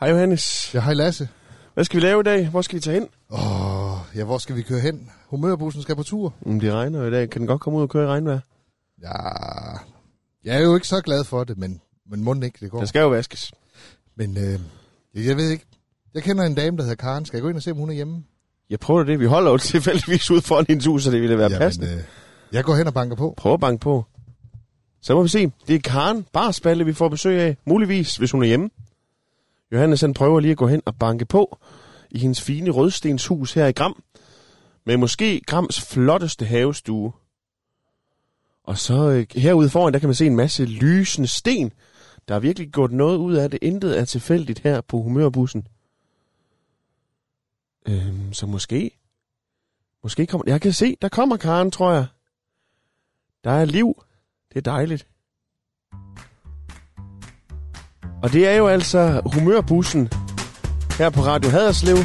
Hej Johannes. Ja, hej Lasse. Hvad skal vi lave i dag? Hvor skal vi tage hen? Åh, ja, hvor skal vi køre hen? Humørbussen skal på tur. Mm, det regner jo i dag. Kan den godt komme ud og køre i regnvejr? Ja, jeg er jo ikke så glad for det, men, men må den ikke, det går. Den skal jo vaskes. Men øh, jeg, jeg ved ikke. Jeg kender en dame, der hedder Karen. Skal jeg gå ind og se, om hun er hjemme? Jeg prøver det. Vi holder jo tilfældigvis ud foran hendes hus, så det ville være ja, passende. øh, jeg går hen og banker på. Prøv at banke på. Så må vi se. Det er Karen Barspalle, vi får besøg af. Muligvis, hvis hun er hjemme. Johannes han prøver lige at gå hen og banke på i hendes fine rødstenshus her i Gram. Med måske Grams flotteste havestue. Og så øh, herude foran, der kan man se en masse lysende sten. Der er virkelig gået noget ud af det. Intet er tilfældigt her på humørbussen. Øhm, så måske... Måske kommer... Jeg kan se, der kommer Karen, tror jeg. Der er liv. Det er dejligt. Og det er jo altså humørbussen her på Radio Haderslev.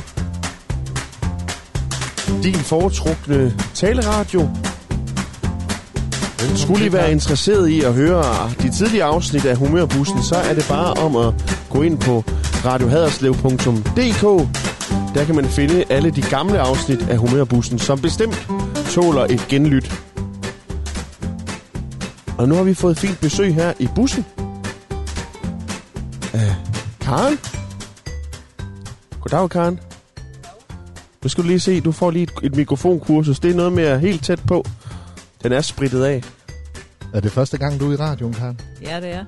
Din foretrukne taleradio. Velkommen Skulle I til, være Karen. interesseret i at høre de tidligere afsnit af Humørbussen, så er det bare om at gå ind på radiohaderslev.dk. Der kan man finde alle de gamle afsnit af Humørbussen, som bestemt tåler et genlyt. Og nu har vi fået fint besøg her i bussen. Af Karen. Goddag, Karen. Nu skal du lige se, du får lige et, et mikrofonkursus. Det er noget med at helt tæt på. Den er spritet af. Er det første gang, du er i radioen, Karen? Ja, det er.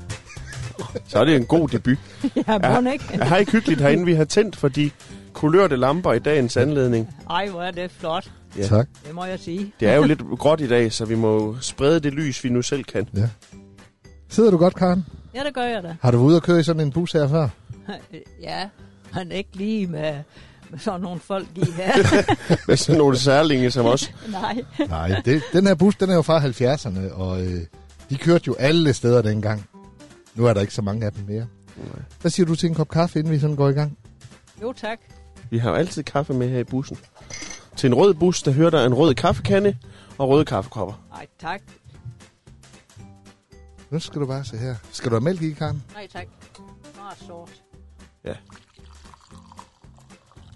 Så er det en god debut. Ja, må ikke? Jeg har ikke hyggeligt herinde. Vi har tændt for de kulørte lamper i dagens anledning. Ej, hvor er det flot. Ja. Tak. Det må jeg sige. Det er jo lidt gråt i dag, så vi må sprede det lys, vi nu selv kan. Sidder du godt, Karen? Ja, det gør jeg da. Har du været ude og køre i sådan en bus her før? Ja, men ikke lige med, med sådan nogle folk i her. Med sådan nogle særlinge som os. Nej. Nej, det, den her bus, den er jo fra 70'erne, og øh, de kørte jo alle steder dengang. Nu er der ikke så mange af dem mere. Hvad siger du til en kop kaffe, inden vi sådan går i gang? Jo, tak. Vi har jo altid kaffe med her i bussen. Til en rød bus, der hører der en rød kaffekande og røde kaffekopper. Ej, tak. Nu skal du bare se her. Skal du have mælk i, Karen? Nej, tak. Bare sort.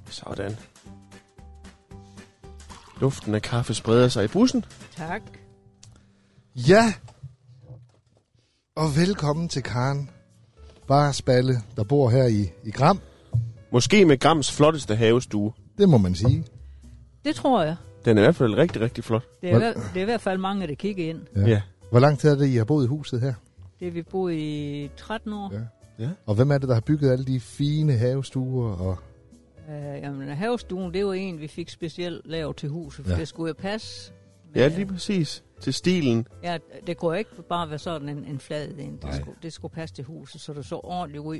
Sådan. Luften af kaffe spreder sig i bussen. Tak. Ja! Og velkommen til Karen Barsballe, der bor her i, i Gram. Måske med Grams flotteste havestue. Det må man sige. Det tror jeg. Den er i hvert fald rigtig, rigtig flot. Det er, i hver- det er i hvert fald mange, der kigger ind. Ja. Hvor lang tid er det, I har boet i huset her? Det har vi boet i 13 år. Ja. Ja. Og hvem er det, der har bygget alle de fine havestuer? Og... Øh, jamen, havestuen, det var en, vi fik specielt lavet til huset, for Ja. ja. det skulle jo passe. med- Ja, lige præcis. Til stilen. Ja, det kunne ikke bare være sådan en, en flad en. Det Nej. skulle, det skulle passe til huset, så det så ordentligt ud.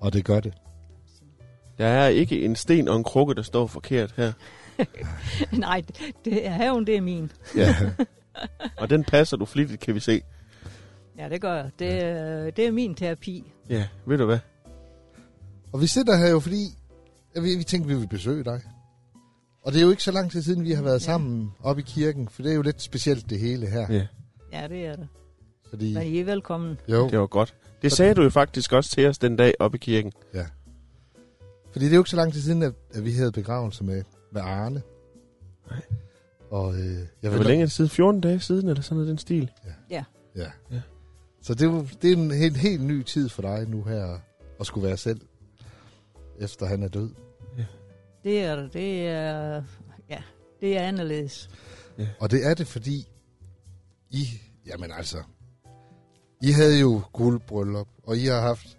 og det gør det. Der er ikke en sten og en krukke, der står forkert her. Nej, det- det, haven det er min. Ja. Og den passer du flittigt, kan vi se. Ja, det gør jeg. Det, øh, det er min terapi. Ja, ved du hvad? og vi sidder her jo, fordi ja, vi, vi tænkte, vi ville besøge dig. Og det er jo ikke så lang tid siden, vi har været Ja. sammen oppe i kirken, for det er jo lidt specielt det hele her. Ja. Ja, det er det. Fordi, Men I er velkommen. jo, Det var godt. Det sagde du jo faktisk også til os den dag oppe i kirken. Fordi det er jo ikke så lang tid siden, at, at vi havde begravelse med, med Arne. Nej. Og øh, jeg Det ved var da- længe siden, 14 dage siden, eller sådan noget i den stil. Ja. Ja. ja. Så det, er jo- det er en helt, helt ny tid for dig nu her, at skulle være selv, efter han er død. Det er det. Det er, ja, det er anderledes. Og det er det, fordi I, jamen altså, I havde jo guldbryllup, og I har haft,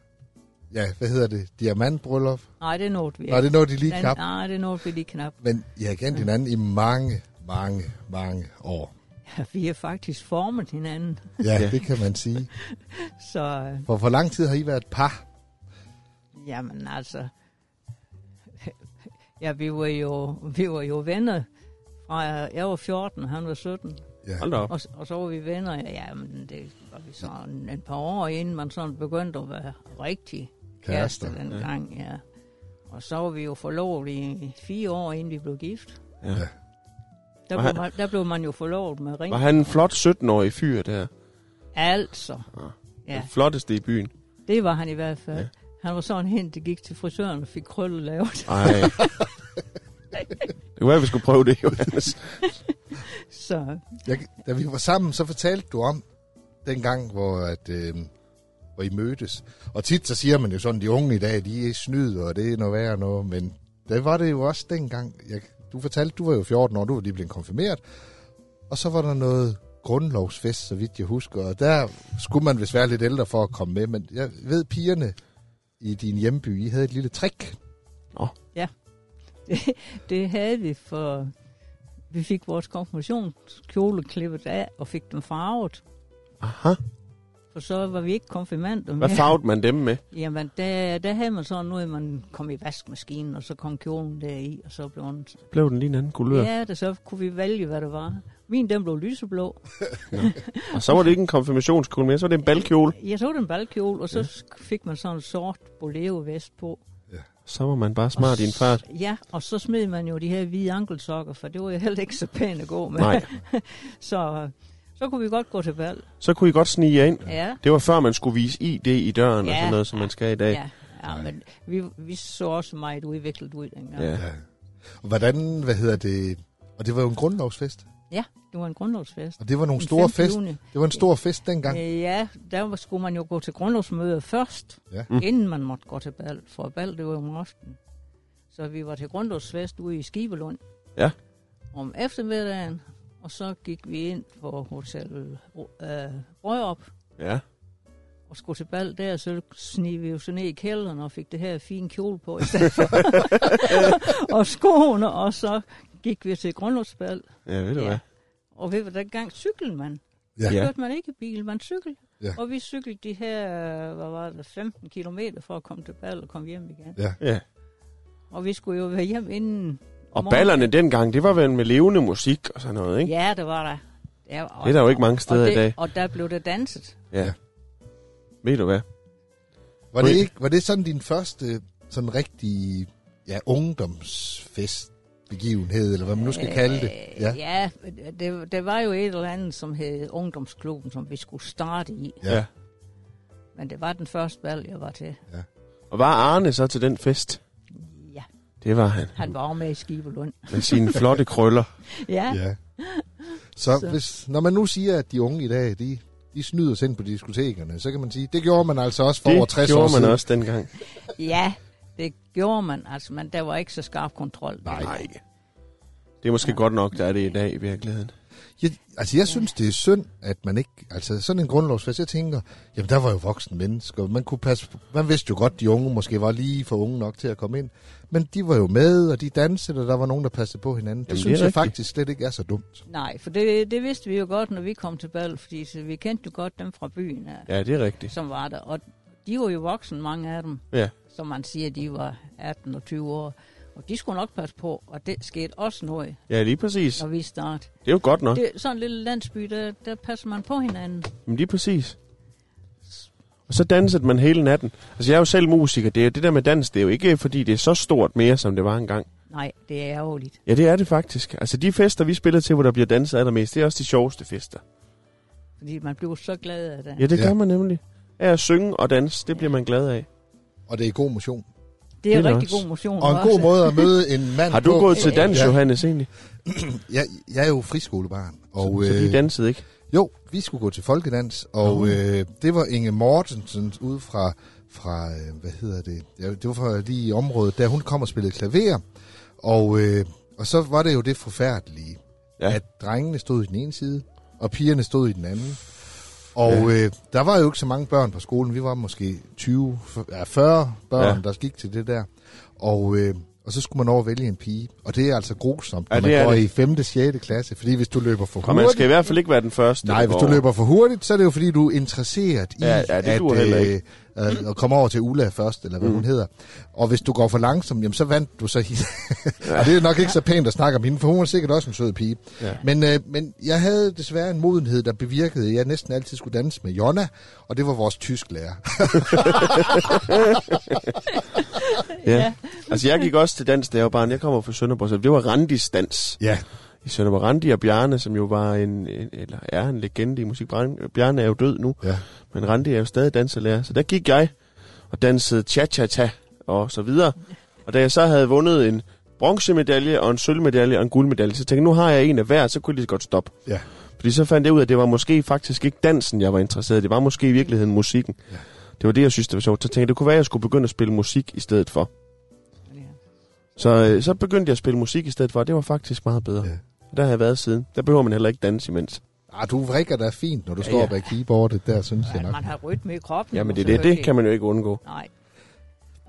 ja, hvad hedder det, diamantbryllup. Nej, det nåede vi Ja. Nej, det nåede de lige Den- knap. Nej, det nåede vi lige knap. Men I har kendt hinanden i mange, mange, mange år. Ja, vi har faktisk formet hinanden. Ja, Ja. det kan man sige. Så øh, For hvor lang tid har I været et par? jamen altså... Ja, vi var jo, vi var jo venner. Fra, jeg var 14, han var 17. Ja. Hold da op. Og, s- og så var vi venner. Ja, Jamen, det var vi sådan et par år, inden man sådan begyndte at være rigtig kærester Kærester, ja. dengang, ja. Og så var vi jo forlovet i fire år, inden vi blev gift. Ja. Ja. Der, Var blev han- man, der blev man jo forlovet med ring. Var han en flot 17-årig fyr der? Altså. Ja. Ja, Den flotteste i byen. det var han i hvert fald. Ah. Ja. Ja. Han var sådan hen, det gik til frisøren og fik krøllet lavet. Ej. det var, at vi skulle prøve det, Johannes. Så Jeg, da vi var sammen, så fortalte du om den gang, hvor, at, øh, hvor I mødtes. Og tit så siger man jo sådan, de unge i dag, de er snyd, og det er noget værre noget. Men det var det jo også dengang. Jeg, du fortalte, du var jo 14 år, du var lige blevet konfirmeret. Og så var der noget grundlovsfest, så vidt jeg husker. Og der skulle man vist være lidt ældre for at komme med. Men jeg ved, pigerne i din hjemby, I havde et lille trick. det havde vi, for vi fik vores konfirmationskjole klippet af og fik dem farvet. Aha. For så var vi ikke konfirmander Hvad mere. farvede man dem med? Jamen, der, der havde man sådan noget, man kom i vaskemaskinen, og så kom kjolen deri, og så blev den... Blev den lige en anden kulør? Ja, der så kunne vi vælge, hvad det var. Min, den blev lyseblå. Og så var det ikke en konfirmationskjole mere, så var det en balkjole. Jeg så den balkjole, og så sk- fik man sådan en sort bolero-vest på. Så var man bare smart i en fart. Ja, og så smed man jo de her hvide ankelsokker, for det var jo heller ikke så pænt at gå med. Nej, Så, øh, så kunne vi godt gå til valg. så kunne I godt snige jer ind. Ja. Det var før, man skulle vise ID i døren ja. og Ja. sådan noget, som man skal i dag. Ja, ja men vi, vi så også meget udviklet ud dengang. Ja. Ja. Hvordan, hvad hedder det? Og det var jo en grundlovsfest. Det var en grundlovsfest. Og det var nogle Den store 5. fest. juni. Det var en stor fest dengang. Øh, Ja, der var- skulle man jo gå til grundlovsmøder først, Ja. ja. mm. inden man måtte gå til bal, for bal det var jo om aftenen. Så vi var til grundlovsfest ude i Skibelund Ja. om eftermiddagen, og så gik vi ind på Hotel øh, Brørup ja. og skulle til bal der, så snigede vi jo så ned i kælderen og fik det her fine kjole på i stedet for. og skoene, og så gik vi til grundlovsbal. Ja, ved du Ja. hvad? Og ved du, der gang cyklede man. Ja. Ja. Ja. Kørte man ikke i bil, man cykel. Ja. Ja. Og vi cyklede de her, øh, hvad var det, 15 kilometer for at komme til Ball og komme hjem igen. Ja. Og vi skulle jo være hjem inden... Og morgenen. ballerne dengang, det var vel med levende musik og sådan noget, ikke? Ja, det var der. Ja, og, Det er der jo ikke mange steder og det... det, i dag. Og der blev der danset. Ja. Ja. Ved du hvad? Var det, Okay. ikke, var det sådan din første sådan rigtig ja, ungdomsfestbegivenhed, eller hvad man nu Øh, skal kalde det? Ja, Ja. ja det, det var jo et eller andet, som hed Ungdomsklubben, som vi skulle starte i. Ja. Ja. Men det var den første valg, jeg var til. Og var Arne så til den fest? Ja, Det var han. han var jo med i Skibelund. Med sine flotte krøller. Ja, ja. ja. Så, Så. Hvis, når man nu siger, at de unge i dag, de, de snyder sig ind på diskotekerne, så kan man sige, det gjorde man altså også for over 60 det år gjorde siden. man også dengang. ja det gjorde man. Altså, men der var ikke så skarp kontrol. Nej. Det er måske godt nok, der er det i dag i virkeligheden. Jeg, altså, jeg synes, det er synd, at man ikke... Altså, sådan en grundlovsfest, jeg tænker, jamen, der var jo voksne mennesker. Man, kunne passe, på- man vidste jo godt, de unge måske var lige for unge nok til at komme ind. Men de var jo med, og de dansede, og der var nogen, der passede på hinanden. Det Jamen, det jamen, er synes det jeg rigtigt. faktisk slet ikke er så dumt. Nej, for det, det vidste vi jo godt, når vi kom til bal, fordi så vi kendte jo godt dem fra byen, ja, Ja, det er rigtigt. som var der. Og de var jo voksne, mange af dem, Ja. som man siger, de var 18 og 20 år. Og de skulle nok passe på, og det skete også noget, Ja, lige præcis. når vi startede. Det er jo godt nok. Det er sådan en lille landsby, der, der passer man på hinanden. Men lige præcis. Og så dansede man hele natten. Altså, jeg er jo selv musiker. Det, er, det der med dans, det er jo ikke, fordi det er så stort mere, som det var engang. Nej, det er ærgerligt. Ja, det er det faktisk. Altså, de fester, vi spiller til, hvor der bliver danset allermest, det er også de sjoveste fester. Fordi man bliver så glad af det. Ja, det Ja. ja. gør man nemlig. Af at synge og danse, det bliver man glad af. Og det er god motion. Det er det er rigtig også. god motion. Og en også. god måde at møde en mand Har du på. gået til dans, Ja. Johannes, egentlig? Jeg, jeg er jo friskolebarn. Og, øh, Så, så de dansede ikke? Jo, vi skulle gå til folkedans, og Nå. øh, det var Inge Mortensen ude fra, fra øh, hvad hedder det, ja, det var fra lige i området, der hun kom og spillede klaver, og, øh, og så var det jo det forfærdelige, ja. Ja. at drengene stod i den ene side, og pigerne stod i den anden. Og ja. øh, der var jo ikke så mange børn på skolen, vi var måske 20, ja, 40 børn, ja. Ja. der gik til det der, og... Øh, og så skulle man over vælge en pige. Og det er altså grusomt, når Ja, ja, det man er går det. i 5. og 6. klasse. Fordi hvis du løber for Og hurtigt... man skal i hvert fald ikke være den første. Nej, der hvis går du over. løber for hurtigt, så er det jo fordi, du er interesseret i Ja, ja, det at, duer heller ikke. øh, at komme over til Ulla først, eller hvad mm. hun hedder. Og hvis du går for langsomt, jamen, så vandt du så hende. og det er nok ikke så pænt at snakke om hende, for hun er sikkert også en sød pige. Ja. Men, øh, men jeg havde desværre en modenhed, der bevirkede, at jeg næsten altid skulle danse med Jonna, og det var vores tysklærer. Ja. ja. Altså, jeg gik også til dans, da jeg var barn. Jeg kommer fra Sønderborg, så det var Randis dans. ja, i Sønderborg Randi og Bjarne, som jo var en, en eller er en legende i musik. Bjarne- Bjarne er jo død nu, ja. men Randi er jo stadig danselærer. Så der gik jeg, og dansede cha-cha-cha og så videre. Og da jeg så havde vundet en bronzemedalje og en sølvmedalje og en guldmedalje, så tænkte jeg, nu har jeg en af hver, så kunne jeg lige så godt stoppe. Ja. Fordi så fandt jeg ud af, at det var måske faktisk ikke dansen, jeg var interesseret i. Det var måske i virkeligheden musikken. Ja. Det var det, jeg synes, det var sjovt. Så tænkte jeg, det kunne være, at jeg skulle begynde at spille musik i stedet for. Ja. Så, øh, så begyndte jeg at spille musik i stedet for, og det var faktisk meget bedre. Ja. Ja. Der har jeg været siden. Der behøver man heller ikke danse imens. Ah, du vrikker da fint, når du Ja, står ja. bag keyboardet der, synes jeg At nok. man har rytme i kroppen. Jamen det, er det, det kan man jo ikke undgå. Nej.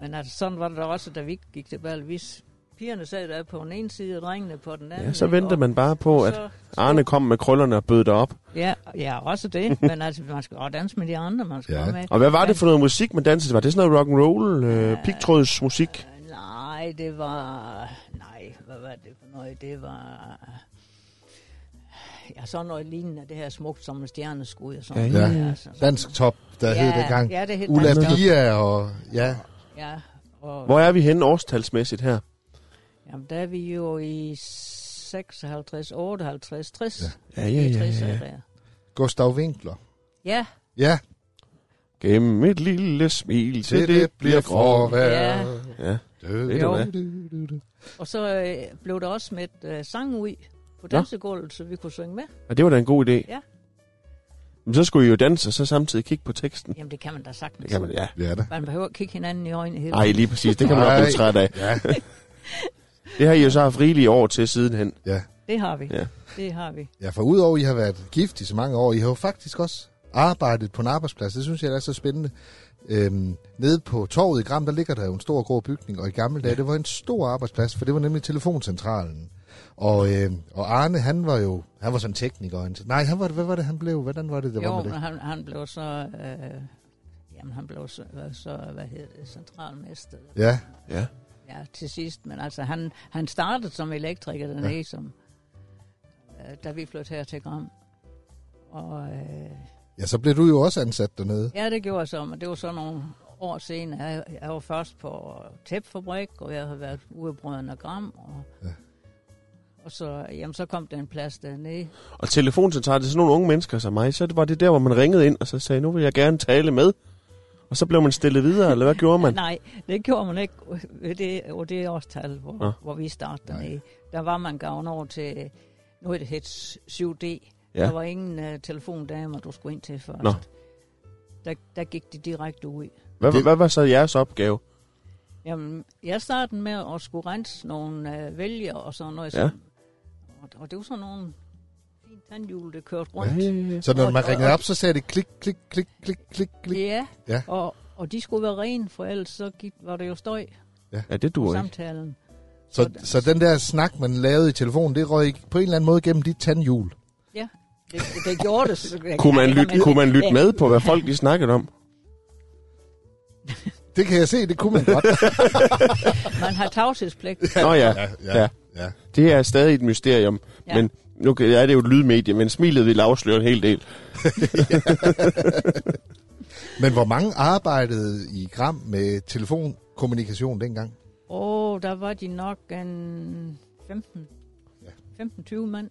Men altså, sådan var det da også, da vi ikke gik til bal. Hvis pigerne sad der på den ene side, og drengene på den anden. Ja, så ikke? venter Og- man bare på, og at så- Arne kom med krøllerne og bød dig op. Ja, ja, også det. Men altså, man skal også danse med de andre, man skal Ja. ja. med. Og hvad var det for noget musik, man dansede? til? Var det sådan noget rock and roll, øh, pigtrådsmusik? Nej, det var... Nej, hvad var det for noget? Det var... Ja, sådan noget lignende. Det her smukt som en stjerneskud og sådan Ja, noget. ja. altså, sådan- Dansk top, der ja, hed dengang. Ja, Ja, det hed Ulla Dansk Top. Pia og... Ja, Ja, og Hvor er vi henne årstalsmæssigt her? jamen, der er vi jo i 56, 58, 60. Ja, ja, ja, 60 er ja. der. Gustav Winkler. Ja, Ja, Gennem et lille smil til det, det bliver for. forvær. Ja. Ja. Du, Ved du du, hvad? du, du, du. og så øh, blev der også smidt øh, sang ud på dansegulvet, så vi kunne synge med. Og det var da en god idé. Ja. Men så skulle I jo danse, og så samtidig kigge på teksten. Jamen, det kan man da sagtens. Det kan man, ja. Ja da. Man behøver ikke kigge hinanden i øjnene hele Ej, lige præcis. Det kan man nok blive Ej. træt af. Ja, Det har I jo så haft rigelige år til sidenhen. ja. Det har vi. Ja. Det har vi. ja, for udover I har været gift i så mange år, I har jo faktisk også arbejdet på en arbejdsplads. Det synes jeg der er så spændende. Øhm, nede på torvet i Gram, der ligger der jo en stor grå bygning, og i gamle dage, det var en stor arbejdsplads, for det var nemlig telefoncentralen. Og, øh, og Arne, han var jo, han var sådan tekniker. og en- Nej, han var, hvad var det, han blev? Hvordan var det, det var Jo, med men det? han, han blev så... Øh, jamen, han blev så, øh, så hvad hedder det, centralmester Ja, Ja. ja, til sidst. Men altså, han, han startede som elektriker dernede, ja. som, øh, da vi flyttede her til Gram. Og øh, ja, så blev du jo også ansat dernede. ja, det gjorde jeg så, men det var så nogle år senere. Jeg, jeg var først på tæpfabrik, og jeg har været ude af Gram. Og, Ja. ja. og så, jamen, så kom der en plads dernede. Og telefoncentralen, det er sådan nogle unge mennesker som mig, så det var det der, hvor man ringede ind og så sagde, nu vil jeg gerne tale med. Og så blev man stillet videre, eller hvad gjorde man? Nej, det gjorde man ikke ved det, og det årstal, hvor, Nå. ja. hvor vi startede dernede. Der var man gavn over til, nu er det hed 7D. Ja. Ja. Der var ingen uh, telefondamer, du skulle ind til først. Nå. Der, der gik de direkte ud. Hvad, hvad var så jeres opgave? Jamen, jeg startede med at skulle rense nogle uh, vælger og sådan noget. Ja. Som, og, og det var sådan nogle fine tandhjul, der kørte Ja, rundt. ja, ja. Så når Og- man og- ringede op, så sagde det klik, klik, klik, klik, klik, klik. Ja, Ja. Og, og de skulle være rene, for ellers så gik, var det jo støj ja det på duer ikke. samtalen. Så, så den der snak, man lavede i telefonen, det røg på en eller anden måde gennem dit tandhjul. Ja, det, det gjorde det. så- Kunne man Ja, lytte, men- kunne man lytte Ja. med på, hvad folk de snakkede om? Det kan jeg se, det kunne man godt. Man har tavshedspligt. Nå ja, ja. ja. det er stadig et mysterium. Ja. Men nu kan- er det jo et lydmedie, men smilet vil afsløre en hel del. Men hvor mange arbejdede i Gram med telefonkommunikation dengang? Åh, oh, der var de nok en 15, Ja. 15-20 mand.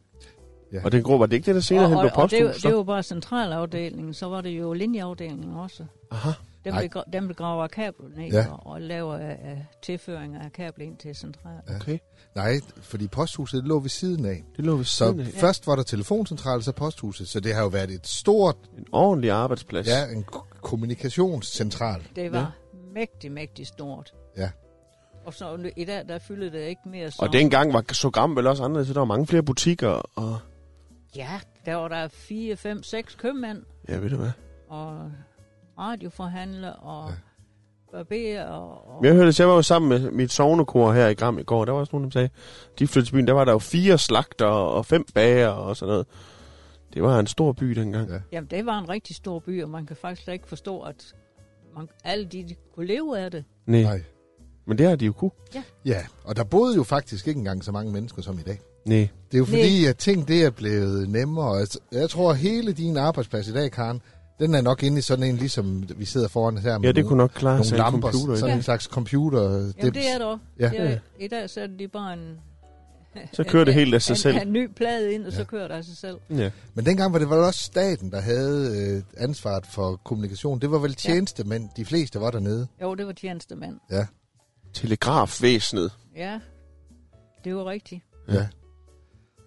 Og den grå, var det ikke det, der senere hen og, blev og det, var- posthus? det så? var bare centralafdelingen, så var det jo linjeafdelingen også. Aha. Dem, Nej. der, gra- dem der graver kabler ned Ja. ja. og, og laver uh, tilføringer af kabler ind til centralen. Ja. Okay, Nej, fordi posthuset lå ved siden af. det lå ved Så siden af. først var der telefoncentralen, så posthuset. Så det har jo været et stort, En ordentlig arbejdsplads. ja, en k- kommunikationscentral. Det var ja. mægtig, mægtig stort. Ja. Og så nu- i dag, der fyldte det ikke mere så. Og dengang var så Gram vel også anderledes, så der var mange flere butikker, og Ja, der var der 4, 5, 6 købmænd. ja, ved du hvad. og radioforhandler og ja. barberer og, og Men Jeg hørte, jeg var jo sammen med mit sovnekor her i Gram i går, der var også nogen, der sagde, de flyttede til byen, der var der jo fire slagter og fem bager og sådan noget. Det var en stor by dengang. Ja. Ja. jamen, det var en rigtig stor by, og man kan faktisk slet ikke forstå, at man, alle de, de kunne leve af det. Nej. Nej. Men det har de jo kunne. Ja, og der boede jo faktisk ikke engang så mange mennesker som i dag. Nej. Det er jo fordi, at ting det er blevet nemmere. Altså, Jeg tror, at hele din arbejdsplads i dag, Karen, den er nok inde i sådan en, ligesom vi sidder foran her. med Ja, det nogle- kunne nok klare nogle sig en lamper, computer. sådan Sådan. en slags computer. øh, Jamen, det, det er det også. Ja. Det er, I dag så er det bare en Så kører det helt af sig Han, selv. han ny plade ind, og ja. så kører det af sig selv. Ja. Men dengang var det vel også staten, der havde øh, ansvaret for kommunikation. Det var vel tjenestemænd, de fleste var dernede. Jo, det var tjenestemænd. Ja, Telegrafvæsenet. Ja, det var rigtigt. ja.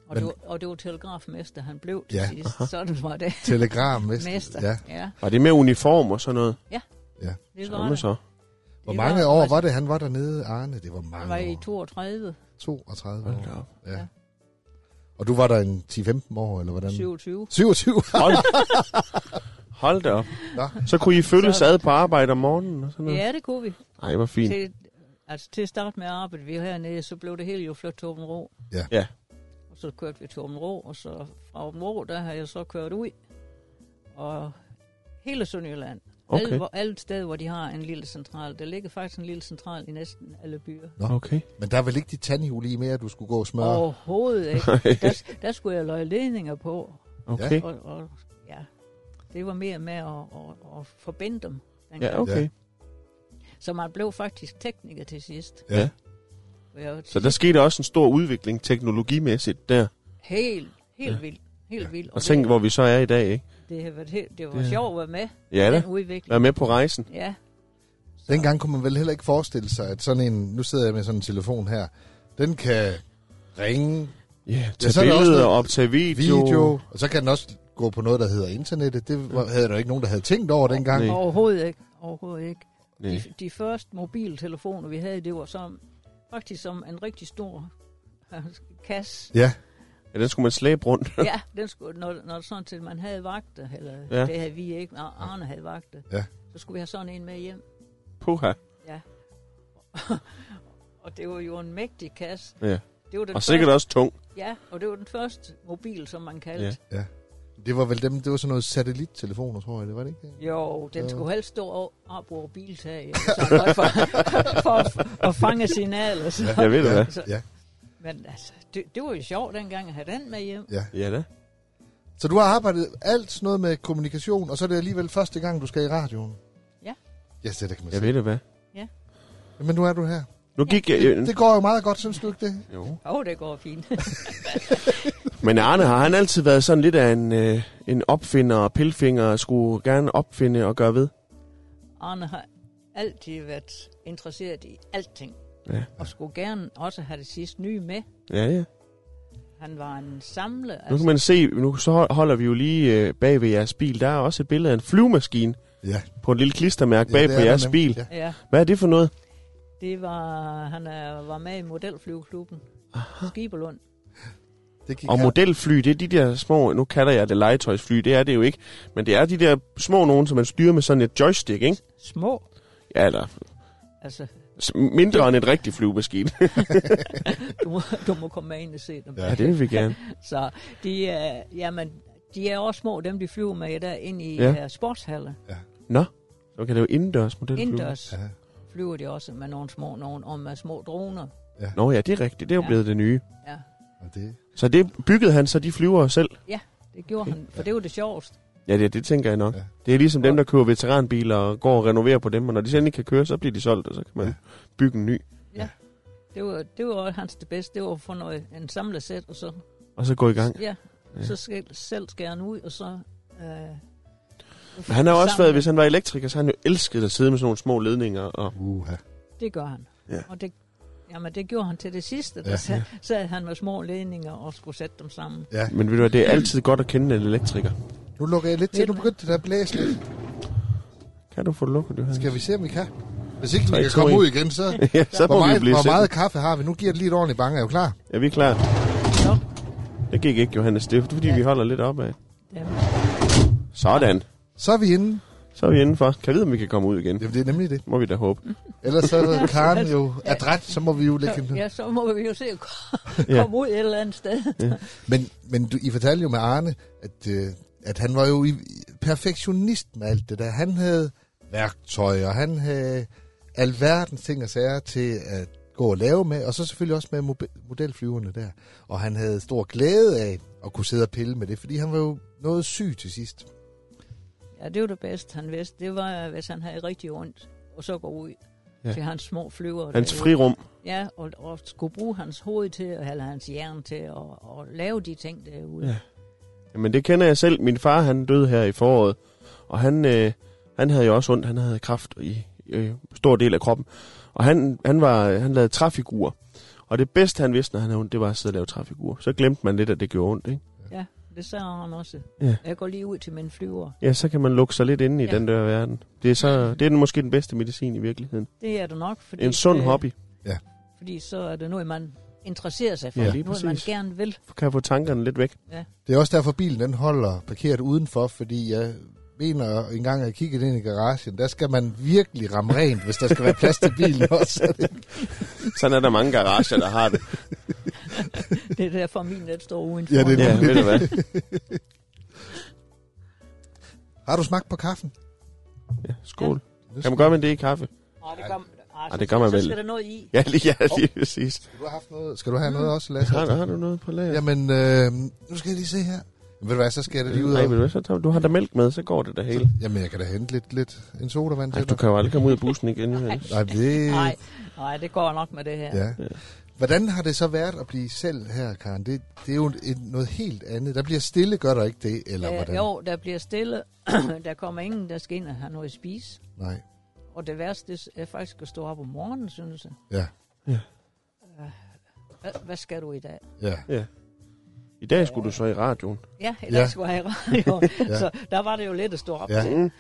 Og, Men- det var, og det var telegrafmester, han blev til Ja. ja. sidst. Sådan var det. Telegrammester. Mester. Ja. ja. Var det med uniform og sådan noget? Det Sådan var det så. så. Hvor Det mange var- år var det, han var dernede, Arne? Det var Han mange var i år. 32, 32 Hold da år. op. Ja. Ja. Og du var der en 10-15 år, eller hvordan? 27. 27. Hold, hold da op. Nå. Så kunne I følges Så- ad på arbejde om morgenen og sådan noget? Ja, det kunne vi. Nej, hvor fint. Til, altså til at starte med at arbejde vi hernede, så blev det hele jo flot til Åben Rå. Ja. Og så kørte vi til Åben Rå, og så fra Åben Rå, der har jeg så kørt ud. Og hele Sønderjylland. Alle, Okay. hvor, alle steder, hvor de har en lille central. Der ligger faktisk en lille central i næsten alle byer. Okay. Men der er vel ikke de tandhjul i mere, du skulle gå og smøre? Overhovedet ikke. Der, der skulle jeg løje ledninger på. Okay. Og, og ja, det var mere med at, at, at forbinde dem. dengang. Ja, okay. Så man blev faktisk tekniker til sidst. Ja. Og Jeg var Så der skete også en stor udvikling teknologimæssigt der. helt, helt vildt. Helt vildt. Og tænk, hvor vi så er i dag, ikke? det, det, har været helt, det var Ja. sjovt at være med Ja da. den udvikling. Vær med på rejsen. Ja. Så, Dengang kunne man vel heller ikke forestille sig, at sådan en... Nu sidder jeg med sådan en telefon her. Den kan ringe Ja, Ja, tag så er der også billeder, noget optage video. video, og så kan den også gå på noget, der hedder internettet. Det var, havde der jo ikke nogen, der havde tænkt over dengang. Nej. Overhovedet ikke. Overhovedet ikke. Nej. De, de første mobiltelefoner, vi havde, det var som, faktisk som en rigtig stor øh, kasse. Ja, Ja, den skulle man slæbe rundt. Ja, den skulle, når, når sådan til man havde vagter, eller Ja. ja. det havde vi ikke, når Arne havde vagter, Ja. så skulle vi have sådan en med hjem. Puha. Ja. og det var jo en mægtig kasse. Ja. Det var den Og sikkert også tung. første, Ja, og det var den første mobil, som man kaldte. Ja. Ja. det var vel dem, det var sådan noget satellittelefoner, tror jeg, det var det ikke? Jo, den Ja. skulle helst stå og- op over biltag, eller sådan noget, for, for at, at fange signaler. Så. Jeg ved det, ja, hvad. Så, ja, men altså, det, det var jo sjovt dengang at have den med hjem. ja. Ja da. Så du har arbejdet alt sådan noget med kommunikation, og så er det alligevel første gang, du skal i radioen. Ja. Ja, yes, det kan Jeg man sige. ved det, hvad. Men nu er du her. Nu gik jeg... Det går jo meget godt, synes du ikke det? Jo. Åh, oh, det går fint. Men Arne, har han altid været sådan lidt af en, øh, en opfinder og pilfinger, og skulle gerne opfinde og gøre ved? Arne har altid været interesseret i alting, Ja. og skulle gerne også have det sidste nye med. Ja, ja. Han var en samler. altså. Nu kan man se, nu så holder vi jo lige øh, bag ved jeres bil. Der er også et billede af en flyvemaskine Ja. på et lille klistermærke bag ja, på det er jeres der bil. nemlig. Ja. Ja, Hvad er det for noget? det var, han er, var med i modelflyveklubben. Aha. Skiberlund. Det gik Og her. modelfly, det er de der små, nu kalder jeg det legetøjsfly, det er det jo ikke. Men det er de der små nogen, som man styrer med sådan et joystick, ikke? Små. Ja, eller Altså, s- mindre end et rigtigt flyvemaskine. du må, du må komme med ind og se dem. ja, det vil vi gerne. Så de, er, jamen, de er også små, dem de flyver med der ind i Ja. ja. sportshaller. Nå, så kan det jo indendørs modelfly. Indendørs Ja. flyver de også med nogle små nogen og med små droner. Nå ja, det er rigtigt, det er jo Ja. blevet det nye. Ja, Og det, Så det byggede han så de flyver selv? det gjorde han, for det var det sjoveste. Ja, det, det tænker jeg nok. Ja. Ja. Det er ligesom dem, der køber veteranbiler og går og renoverer på dem, og når de så endelig kan køre, så bliver de solgt, og så kan man Ja. ja. bygge en ny. Det var, det var hans det bedste, det var at få noget, en samlesæt, og så, Og så gå i gang. ja, Ja. så skal, selv skære han ud, og så... Øh, Men han har jo også samle. været, hvis han var elektriker, så har han jo elsket at sidde med sådan nogle små ledninger. Og, uha. Det gør han. Ja. Og det, jamen, det gjorde han til det sidste. Der Ja. ja. sad, sad han med små ledninger og skulle sætte dem sammen. men ved du hvad, det er altid godt at kende en elektriker. Nu lukker jeg lidt til, Ved du du- begyndte at blæse lidt. Kan du få lukket det her? Skal vi se, om vi kan? Hvis ikke vi Tre, kan to, komme en. ud igen, så... ja, så Hvor må vi meget, blive hvor meget... meget kaffe har vi? Nu giver det lige et ordentligt bange. Er du klar? Ja, vi er klar. Så, Det gik ikke, Johannes. Det er fordi, ja. vi holder lidt op af. dem, Sådan. Så er vi inde. Så er vi indenfor. Kan jeg vide, om vi kan komme ud igen? Jamen, det er nemlig det. Må vi da håbe. Ellers så er Karen jo adræt, så må vi jo lægge hende så, ned. ja, så må vi jo se at Ja. komme ud et eller andet sted. Men, men du, I fortalte jo med Arne, at, øh, at han var jo i, perfektionist med alt det der. Han havde værktøj, og han havde alverdens ting og sager til at gå og lave med, og så selvfølgelig også med mobe- modelflyverne der. Og han havde stor glæde af at kunne sidde og pille med det, fordi han var jo noget syg til sidst. Ja, det var det bedste, han vidste. Det var, hvis han havde rigtig ondt, og så gå ud. Ja. ja. til hans små flyver. Hans derude. frirum. Ja, og, og skulle bruge hans hoved til, eller hans hjerne til at, at lave de ting derude. Ja. Jamen, det kender jeg selv. Min far, han døde her i foråret, og han, øh, han havde jo også ondt. Han havde kraft i øh, stor del af kroppen. Og han, han, var, han lavede træfigurer. Og det bedste, han vidste, når han havde ondt, det var at sidde og lave træfigurer. Så glemte man lidt, at det gjorde ondt, ikke? ja. Det sagde han også. Ja. Jeg går lige ud til min flyver. Ja, så kan man lukke sig lidt inde i ja. Ja. den der verden. Det er, så, det er den- måske den bedste medicin i virkeligheden. Det er det nok. Fordi, En sund øh, hobby. Fordi så er det noget, man interesserer sig for. Ja, Ja, lige noget, man præcis. gerne vil. Kan få tankerne lidt væk. Det er også derfor, bilen den holder parkeret udenfor, fordi jeg mener, en gang jeg kiggede ind i garagen, der skal man virkelig ramme rent, hvis der skal være plads til bilen også. Sådan er der mange garager, der har det. Det er derfor, min net står udenfor. Ja, det er Ja, ved du hvad? Har du smagt på kaffen? Ja, skål. Kan man gøre med det i kaffe? Nå, det gør, altså, det gør man så, vel. Så skal der noget i. Ja, lige, ja, lige præcis. Skal du have, haft noget? Skal du have noget også, Lasse? Har, har du noget på lager? Jamen, øh, nu skal jeg lige se her. Ved du hvad, så skal jeg da lige ud Nej, og... men så tager, du har da mælk med, så går det da hele. Jamen, jeg kan da hente lidt, lidt en sodavand Ej, til du dig. kan jo aldrig komme ud af bussen igen. Johannes. Nej, det... Nej, nej, det går nok med det her. Ja. Hvordan har det så været at blive selv her, Karen? Det, det er jo et, noget helt andet. Der bliver stille, gør der ikke det, eller Øh, hvordan? jo, der bliver stille. der kommer ingen, der skal ind og have noget at spise. Nej. Og det værste er faktisk at stå op om morgenen, synes jeg. Ja. Hvad, hvad skal du i dag? Ja. Ja. I dag skulle du så i radioen. Ja, i Ja. dag ja. skulle jeg i radio. Ja. ja. Så der var det jo let at stå op Ja. ja. til. Mm.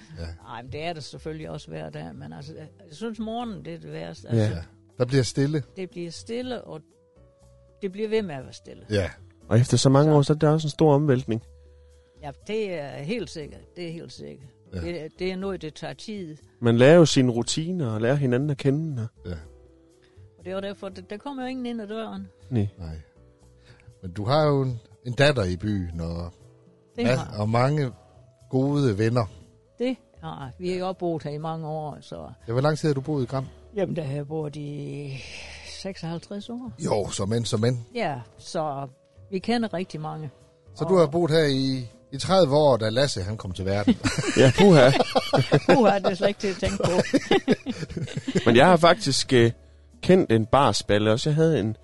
Nej, men det er det selvfølgelig også hver dag. Men altså, jeg synes, morgenen det er det værste. Altså, Ja. ja. Der bliver stille. Det bliver stille, og det bliver ved med at være stille. Ja. Og efter så mange år, så er der også en stor omvæltning. Ja, det er helt sikkert. Det er helt sikkert. Ja. Ja. Det, det er noget, det tager tid. Man lærer jo sine rutiner og lærer hinanden at kende. Og... ja. Og det var derfor, der, der kom jo ingen ind ad døren. Nej. Nej. Men du har jo en, en datter i byen, og, Det ja, har, og mange gode venner. det har. Vi har jo boet her i mange år, så... Ja, hvor lang tid har du boet i Gram? Jamen, der har jeg boet i 56 år. Jo, som end, som end. Ja, så vi kender rigtig mange. Så du har boet her i, i 30 år, da Lasse han kom til verden. Ja, puha. Uha, det er slet ikke til at tænke på. Men jeg har faktisk øh, kendt en barsballe også. Jeg havde en,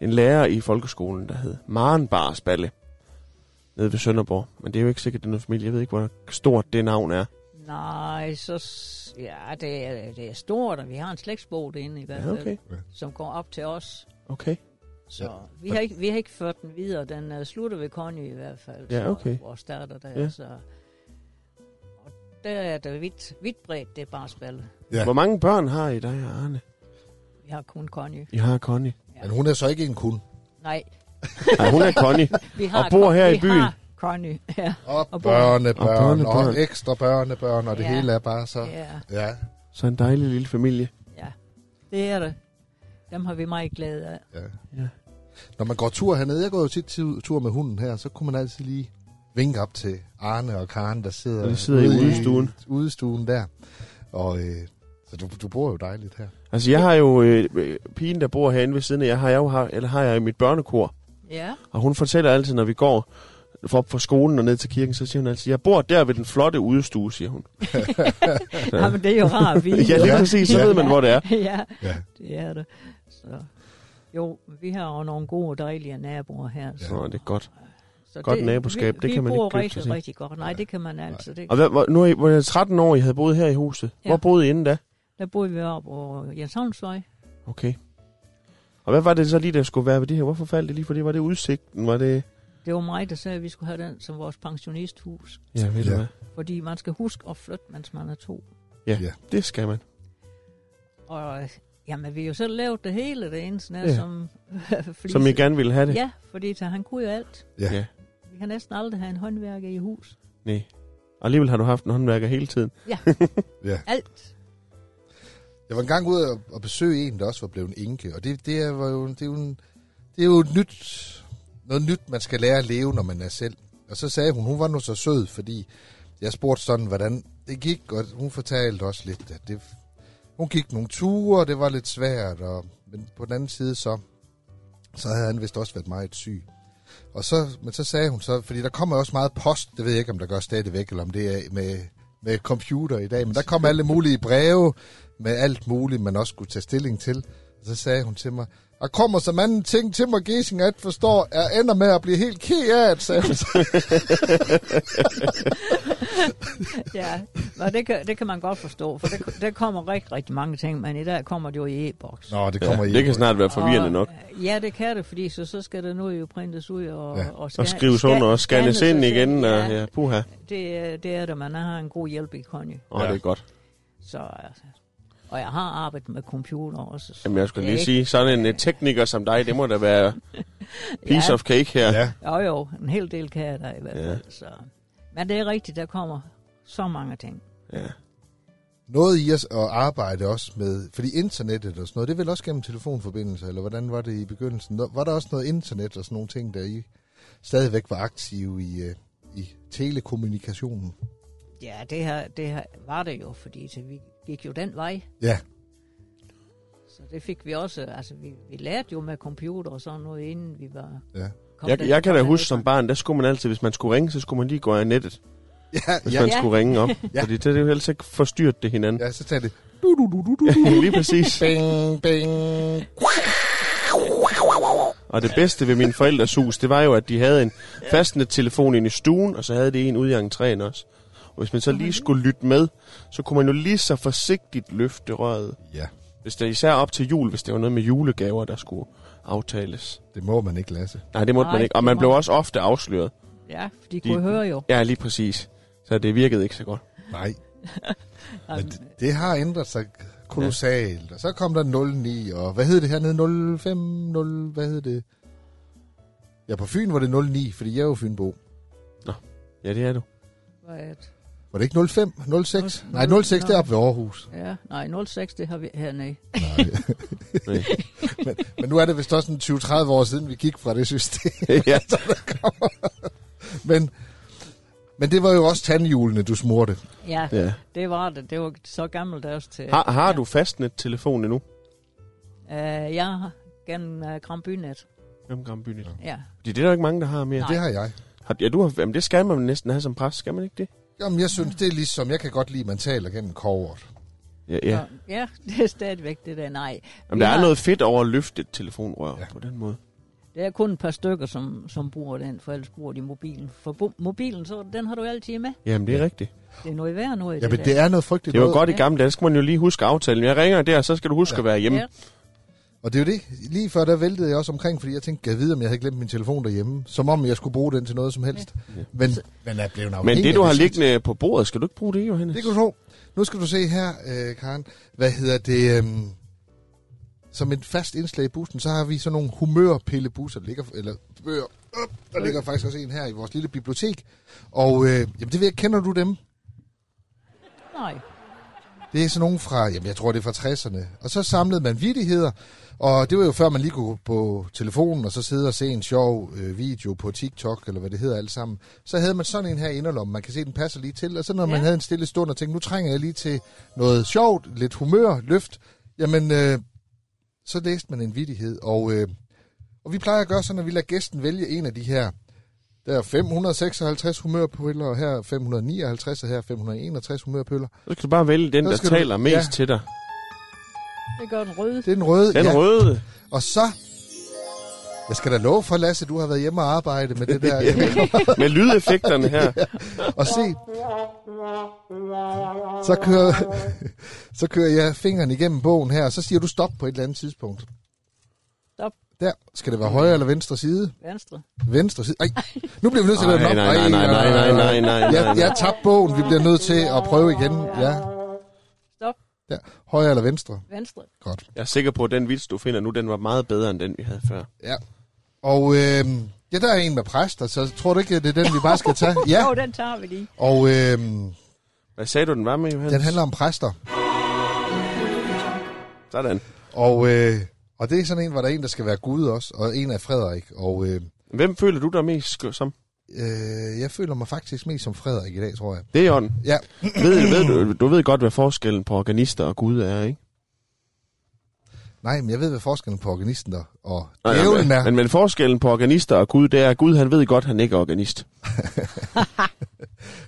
en lærer i folkeskolen, der hed Maren Barsballe. Nede ved Sønderborg. Men det er jo ikke sikkert, det er noget familie. Jeg ved ikke, hvor stort det navn er. Nej, så... s- Ja, det er, det er stort, og vi har en slægtsbog derinde i hvert Ja, fald, okay. som går op til os. Okay. Så ja. vi, har ikke, vi har ikke ført den videre. Den uh, slutter ved Conny i hvert fald. Ja, okay. Så, vores datter der, Ja. ja. så... Og der er det vidt, vidt bredt, det er bare spil. Ja. Hvor mange børn har I dig og Arne? Vi har kun Conny. I har Connie. Men hun er så ikke en kun. Nej, Nej, hun er Connie. vi har... Og bor her vi i byen. Har Conny, ja. Og, Og børnebørn, og, børnebørn. og ekstra børnebørn, og det Ja. hele er bare så... ja. Ja. Så en dejlig lille familie. Ja, det er det. Dem har vi meget glæde af. ja. Ja. Når man går tur hernede, jeg går jo tit til- tur med hunden her, så kunne man altid lige vinke op til Arne og Karen, der sidder, Og de sidder i udestuen. udestuen der. Og øh, så du, du bor jo dejligt her. Altså, jeg har jo øh, øh, pigen, der bor herinde ved siden af, jeg har jeg jo har, eller har jeg i mit børnekor. Ja, Og hun fortæller altid, når vi går fra- op fra skolen og ned til kirken, så siger hun altid, jeg bor der ved den flotte udestue, siger hun. ja. Jamen, det er jo rart at vide. Ja, lige Ja. præcis, så Ja. ved man, hvor det er. ja, Ja. det er det. Så. Jo, vi har jo nogle gode og dejlige naboer her. Så, Nå, det er godt. så Godt naboskab, vi, det kan man vi ikke bor købe sig rigtig, til. rigtig godt. Nej, det kan man altså. Det, Og hvad, hvor, nu er I, hvor jeg 13 år, I havde boet her i huset. Ja. Ja. Hvor boede I inden da? der boede vi op på Jenshavnsvej. Okay. Og hvad var det så lige, der skulle være ved det her? Hvorfor faldt det lige for det? Var det udsigten? Var det... Det var mig, der sagde, at vi skulle have den som vores pensionisthus. Ja, ved Ja. du hvad? Fordi man skal huske at flytte, mens man er to. Det skal man. Og jamen, vi har jo selv lavet det hele, det eneste er, Ja. ja. som... flise. Som I gerne ville have det? Ja, fordi så han kunne jo alt. Ja. Ja. Vi har næsten aldrig have en håndværker i hus. Nej. Og alligevel har du haft en håndværker hele tiden. Alt. Jeg var engang ude og- og besøge en, der også var blevet enke, og det, det, er, var jo, det, er, jo en, det er jo et nyt, noget nyt, man skal lære at leve, når man er selv. Og så sagde hun, hun var nu så sød, fordi jeg spurgte sådan, hvordan det gik, og hun fortalte også lidt, at det, hun gik nogle ture, og det var lidt svært, og, men på den anden side så, så havde han vist også været meget syg. Og så, men så sagde hun så, fordi der kommer jo også meget post, det ved jeg ikke, om der gør stadigvæk, eller om det er med med computer i dag, men der kom alle mulige breve med alt muligt, man også skulle tage stilling til. Og så sagde hun til mig, der kommer som anden ting til mig, Gesing at forstår, jeg ender med at blive helt ked af det, sagde hun. så. Ja, og det kan, det kan man godt forstå, for der, der kommer rigtig, rigtig mange ting, men i dag kommer det jo i e-boks. Nå, det kommer Ja, i. det kan snart være forvirrende Og- øh, nok. Ja, det kan det, fordi så, så skal det nu jo printes ud og, Ja. ja. og, Og skrives under og scannes ind igen. Og, ja, puha. Det, er- det er det, man har en god hjælp i konje. Åh, det er godt. Så, altså. Og jeg har arbejdet med computer også. så Jamen, jeg skulle det er lige sige, ikke- sådan en øh, tekniker som dig, det må da være piece Ja. of cake her. Ja, Jo jo, en hel del kan jeg da i hvert Ja. fald. Ja. Så. Men det er rigtigt, der kommer så mange ting. Ja. noget i os at arbejde også med, fordi internettet og sådan noget, det er vel også gennem telefonforbindelser, eller hvordan var det i begyndelsen? Nå, Var der også noget internet og sådan nogle ting, der I stadigvæk var aktive i, øh, i telekommunikationen? Ja, det her, det her var det jo, fordi så vi gik jo den vej. Ja, Så det fik vi også, altså vi, vi lærte jo med computer og sådan noget, inden vi var... ja. kom Jeg, den- jeg kan kom da den huske ud. som barn, der skulle man altid, hvis man skulle ringe, så skulle man lige gå af nettet, Ja, hvis ja, man Ja. skulle ringe op. Ja. Fordi det er jo helst ikke forstyrret det hinanden. ja, så tager det. Du, du, du, du, du. lige præcis. Bing, bing. Og det bedste ved mine forældres hus, det var jo, at de havde en fastnet telefon inde i stuen, og så havde det en ude i entréen også. Og hvis man så lige skulle lytte med, så kunne man jo lige så forsigtigt løfte røret. Ja, Hvis det især op til jul, hvis det var noget med julegaver, der skulle aftales. det må man ikke, Lasse. Nej, det måtte Nej, man ikke. Og det man må blev man også ofte afsløret. Ja, for de, De- kunne høre jo. Ja, lige præcis. Så det virkede ikke så godt. Nej, Jamen, men det, det har ændret sig kolossalt. Og så kom der 09, og hvad hed det hernede? 05, 0, hvad hed det? Ja, på Fyn var det 09, fordi jeg er jo Fynbo. Ja, det er du. hvor at- Var det ikke 05? 06? Nul- Nej, 06 nul- det er oppe ved Aarhus. Ja, nej, 06, det har vi hernede. Nej. Nej. men, men nu er det vist også sådan 20-30 år siden, vi gik fra det system. ja. Men, men det var jo også tandhjulene, du smurte. Ja, ja, ja. det var det. Det var så gammelt til. Har, har du fastnet-telefon endnu? Uh, jeg har gennem uh, Grambynet. Hvem Gramby Net? Ja. Fordi det er der jo ikke mange, der har mere. Nej. Det har jeg. Har, ja, du har, jamen, det skal man næsten have som præst, skal man ikke det? Jamen, jeg synes, det er ligesom, jeg kan godt lide, at man taler gennem kovret. Ja, ja. Så, ja, det er stadigvæk det der. Nej, Jamen, der vi er har- noget fedt over at løfte et telefonrør ja. Ja. på den måde. det er kun et par stykker, som, som bruger den, for ellers bruger de mobilen. For bo- mobilen, så den har du altid med. Jamen, det er rigtigt. Det er noget værd nu i Ja, det, men det er noget frygteligt Det var noget. godt i Ja. gamle dage, der skulle man jo lige huske aftalen. Jeg ringer der, så skal du huske ja. at være hjemme. Ja. Og det er jo det. Lige før, der væltede jeg også omkring, fordi jeg tænkte, kan jeg vide, om jeg havde glemt min telefon derhjemme? Som om jeg skulle bruge den til noget som helst. Ja. Men, men er blevet Men afhængig det, af du har sidste. liggende på bordet, skal du ikke bruge det, Johannes? Det kan du tro. Nu skal du se her, øh, Karen. Hvad hedder det? Øhm, som et fast indslag i bussen, så har vi sådan nogle humørpillebusser, der ligger, eller bøger. Op, der ligger faktisk også en her i vores lille bibliotek. Og øh, jamen, det ved jeg, kender du dem? Nej. Det er sådan nogen fra, jamen jeg tror det er fra 60'erne. Og så samlede man vidigheder, og det var jo før man lige kunne gå på telefonen og så sidde og se en sjov øh, video på TikTok, eller hvad det hedder alt sammen. Så havde man sådan en her i inderlommen, man kan se den passer lige til. Og så når ja. man Ja. havde en stille stund og tænkte, nu trænger jeg lige til noget sjovt, lidt humør, løft. Jamen, øh, så læste man en vidighed, og, øh, og vi plejer at gøre sådan, at vi lader gæsten vælge en af de her. Der er 556 humørpøller, og her er 559, og her er 561 humørpøller. Så skal du bare vælge den, Så der skal du- taler mest ja. til dig. Det gør den røde. Det er den røde. Den ja. røde. Og så... Jeg skal da love for, Lasse, du har været hjemme og arbejde med det der. Med lydeffekterne her. Og se, så kører, så kører jeg fingeren igennem bogen her, og så siger du stop på et eller andet tidspunkt. Stop. Der. Skal det være højre eller venstre side? Venstre. Venstre side? Ej, nu bliver vi nødt til at lave Nej, den op. nej, nej, nej, nej, nej, nej, nej, nej. Jeg, jeg tabte bogen, vi bliver nødt til at prøve igen. Ja, Stop. der. Højre eller venstre? Venstre. Godt. Jeg er sikker på, at den vits, du finder nu, den var meget bedre, end den, vi havde før. Ja. Og øh, ja, der er en med præster, så tror du ikke, at det er den, vi bare skal tage? Ja, Jo, den tager vi lige. og øh, Hvad sagde du, den var med, Johannes? Den handler om præster. Sådan. Og, øh, og det er sådan en, hvor der er en, der skal være Gud også, og en er Frederik. Og øh, Hvem føler du dig mest skø- som? øh, jeg føler mig faktisk mest som Frederik i dag, tror jeg. Det er ånden. Ja, Ved, ved du, du ved godt, hvad forskellen på organister og Gud er, ikke? nej, men jeg ved, hvad forskellen på organisten der og Nå, djævlen men, er. men, men forskellen på organister og Gud, det er, at Gud han ved godt, han ikke er organist.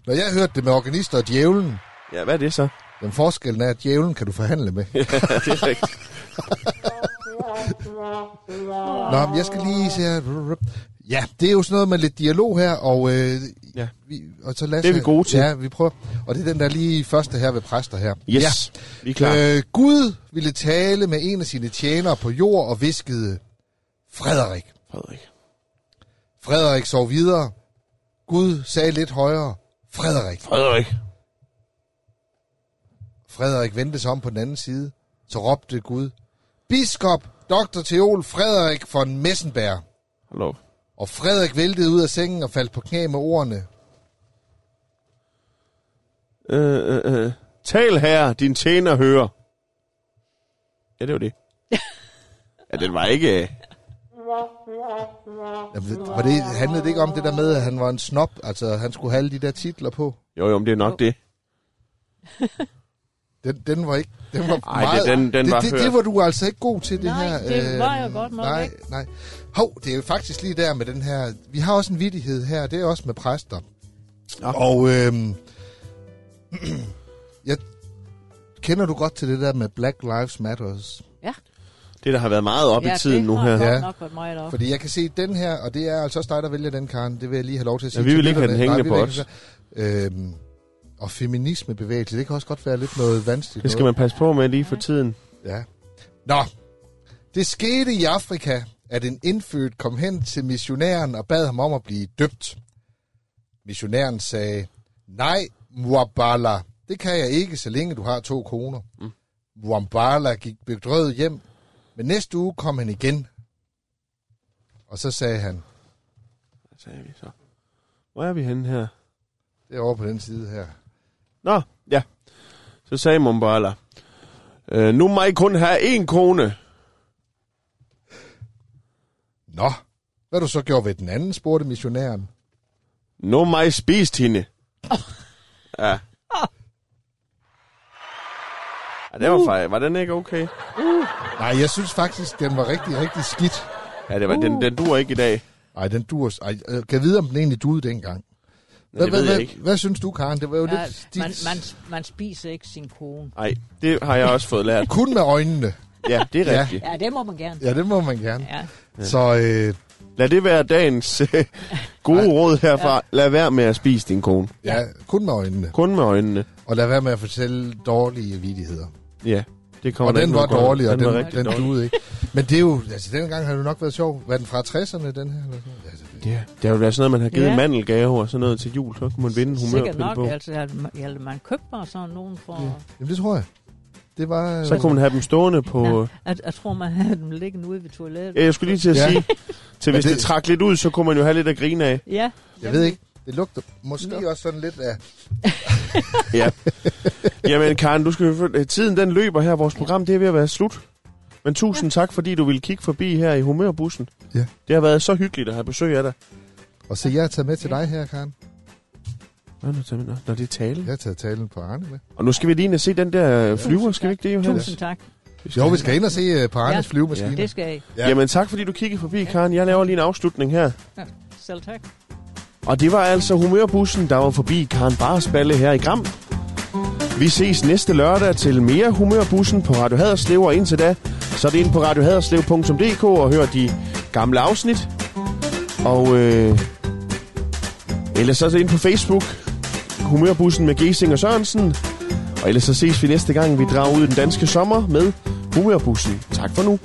Når jeg hørte det med organister og djævlen, Ja, hvad er det så? den forskellen er, at djævlen kan du forhandle med. Ja, det er rigtigt. Nå, men jeg skal lige se her. Ja, det er jo sådan noget med lidt dialog her, og, øh, Ja. vi, og så Lasse, Det er vi gode til. Ja, vi prøver. Og det er den der lige første her ved præster her. Yes, ja. vi er klar. Øh, Gud ville tale med en af sine tjenere på jord og viskede, Frederik. Frederik. Frederik sov videre. Gud sagde lidt højere, Frederik. Frederik. Frederik vendte sig om på den anden side. Så råbte Gud, Biskop, Dr. Theol Frederik von Messenberg. Hold op. Og Frederik væltede ud af sengen og faldt på knæ med ordene, Øh, øh, øh. Tal her, din tjener hører. Ja, det var det. ja, den var ikke... øh, Jamen, var det, handlede det ikke om det der med, at han var en snob? Altså, han skulle have alle de der titler på. Jo, jo, men det er nok det. Den, den var ikke... Den var Ej, det- meget, den- den det, var det, hørt. det, var du altså ikke god til, det Nej, her. øh, det var jeg godt nok Nej, ikke. nej. Hov, det er jo faktisk lige der med den her... Vi har også en vidighed her, det er også med præster. Nå. Og øhm, jeg, kender du godt til det der med Black Lives Matters? Ja. Det, der har været meget op ja, i tiden det nu her. har godt Ja. nok været meget op. Fordi jeg kan se den her, og det er altså også dig, der vælger den, Karen. Det vil jeg lige have lov til at Ja, sige. vi vil til ikke have den lytterne. hængende Nej, på vi vil ikke. Øhm, og feminismebevægelse, det kan også godt være lidt noget vanskeligt. Det skal man passe på med lige for tiden. noget. Ja. Nå, det skete i Afrika, at en indfødt kom hen til missionæren og bad ham om at blive døbt. Missionæren sagde, nej, Mwabala, det kan jeg ikke, så længe du har to koner. Mm. Mwabala gik bedrøvet hjem, men næste uge kom han igen. Og så sagde han, Hvad sagde vi så? Hvor er vi henne her? Det er over på den side her. Nå, ja. Så sagde Mumbala, øh, nu må I kun have én kone. Nå, hvad du så gjorde ved den anden, spurgte missionæren. Nu må I spise hende. ja. ja. det var fejl. Var den ikke okay? Nej, jeg synes faktisk, den var rigtig, rigtig skidt. Ja, det var, den, den dur ikke i dag. Ej, den dur... Ej, jeg kan vide, om den egentlig duede dengang. Nej, det ved jeg hvad, ikke. hvad synes du, Karen? Det var jo Ja, lidt... man, man, man spiser ikke sin kone. Nej, det har jeg også fået lært. Kun med øjnene. Ja, det er Ja. rigtigt. Ja, det må man gerne. Ja, det må man gerne. Ja. Ja. Så øh, Lad det være dagens øh, gode råd herfra. Lad være med at spise din kone. ja, kun med øjnene. Kun med øjnene. Og lad være med at fortælle dårlige vidigheder. Ja, det kommer Og der den ikke var noget godt. dårlig, og var den, rigtig den dårlig. duede ikke. Men det er jo... Altså, dengang har det nok været sjov. Var den fra 60'erne, den her? Eller sådan? noget? Altså, Ja, det har jo været sådan noget, man har givet Ja. ja. mandelgave og sådan noget til jul, så kunne man vinde Sikkert humørpille nok, på. altså, at man, eller man købte bare sådan nogen for... jamen, det tror jeg. Det var... Så kunne man have dem stående på... Ja, Ja. jeg, jeg tror, man havde dem liggende ude ved toilettet. Øh. Jeg skulle lige til at Ja. ja. sige, til Men hvis det... det- det trak lidt ud, så kunne man jo have lidt at grine af. Ja. Jeg ved ikke. Det lugter måske også sådan lidt af... Ja. Jamen Karen, du skal jo følge- tiden den løber her. Vores program det er ved at være slut. Men tusind ja. tak, fordi du ville kigge forbi her i humørbussen. Ja. Det har været så hyggeligt at have besøg af dig. Og så jeg har taget med til dig her, Karen. Nå, nu tager vi- nå, Når det er tale. Jeg har taget talen på Arne med. Og nu skal vi lige ind og se den der øh, flyver, skal vi ikke det, Johannes? Tusind tak. Jo, vi skal ind og se uh, på Arnes ja. Ja. flyvemaskine. Ja. Det skal I. Ja. Jamen tak, fordi du kiggede forbi, Karen. Jeg laver lige en afslutning her. Ja. Selv tak. Og det var altså humørbussen, der var forbi Karen Barsballe her i Gram. Vi ses næste lørdag til mere humørbussen på Radio Haderslev, og indtil da, så er det ind på radiohaderslev.dk og hør de gamle afsnit. Og øh, ellers så er det ind på Facebook, humørbussen med Gesing og Sørensen. Og ellers så ses vi næste gang, vi drager ud i den danske sommer med humørbussen. Tak for nu.